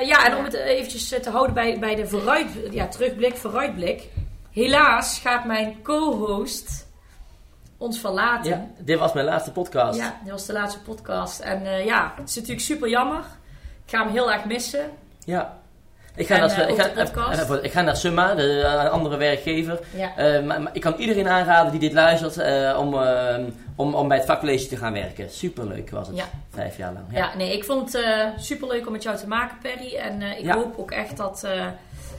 Speaker 2: eh, ja, en om het eventjes eh, te houden bij, bij de vooruit, ja, terugblik, vooruitblik. Helaas gaat mijn co-host ons verlaten.
Speaker 3: Ja, dit was mijn laatste podcast.
Speaker 2: Ja, dit was de laatste podcast. En eh, ja, het is natuurlijk super jammer. Ik ga hem heel erg missen.
Speaker 3: Ja. Ik ga,
Speaker 2: En,
Speaker 3: naar,
Speaker 2: eh,
Speaker 3: ik,
Speaker 2: ook
Speaker 3: ga,
Speaker 2: de podcast.
Speaker 3: eh, eh, ik ga naar Summa, de eh, andere werkgever.
Speaker 2: Ja.
Speaker 3: Eh, maar, maar ik kan iedereen aanraden die dit luistert eh, om, eh, om, om bij het vakcollege te gaan werken. Superleuk was het.
Speaker 2: Ja.
Speaker 3: Vijf jaar lang. Ja.
Speaker 2: Ja, nee, ik vond het super superleuk om met jou te maken, Perry. En eh, ik
Speaker 3: Ja.
Speaker 2: hoop ook echt dat, eh,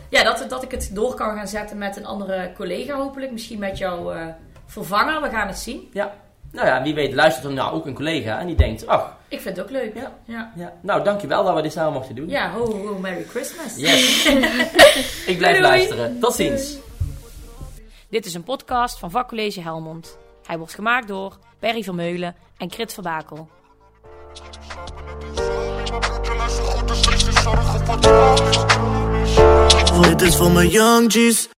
Speaker 2: ja, dat, dat ik het door kan gaan zetten met een andere collega, hopelijk. Misschien met jouw eh, vervanger, we gaan het zien.
Speaker 3: Nou ja, wie weet luistert er nou ook een collega en die denkt, ach,
Speaker 2: Ik vind het ook leuk.
Speaker 3: Ja.
Speaker 2: ja.
Speaker 3: ja, nou dankjewel dat we dit samen mochten doen.
Speaker 2: Ja, ho, ho, ho, Merry Christmas.
Speaker 3: Yes. ik blijf
Speaker 2: Doei.
Speaker 3: luisteren. Tot ziens.
Speaker 2: Dit is een podcast van Vakcollege Helmond. Hij wordt gemaakt door Perry Vermeulen en Krit Verbakel.
Speaker 1: Voor dit is voor mijn young G's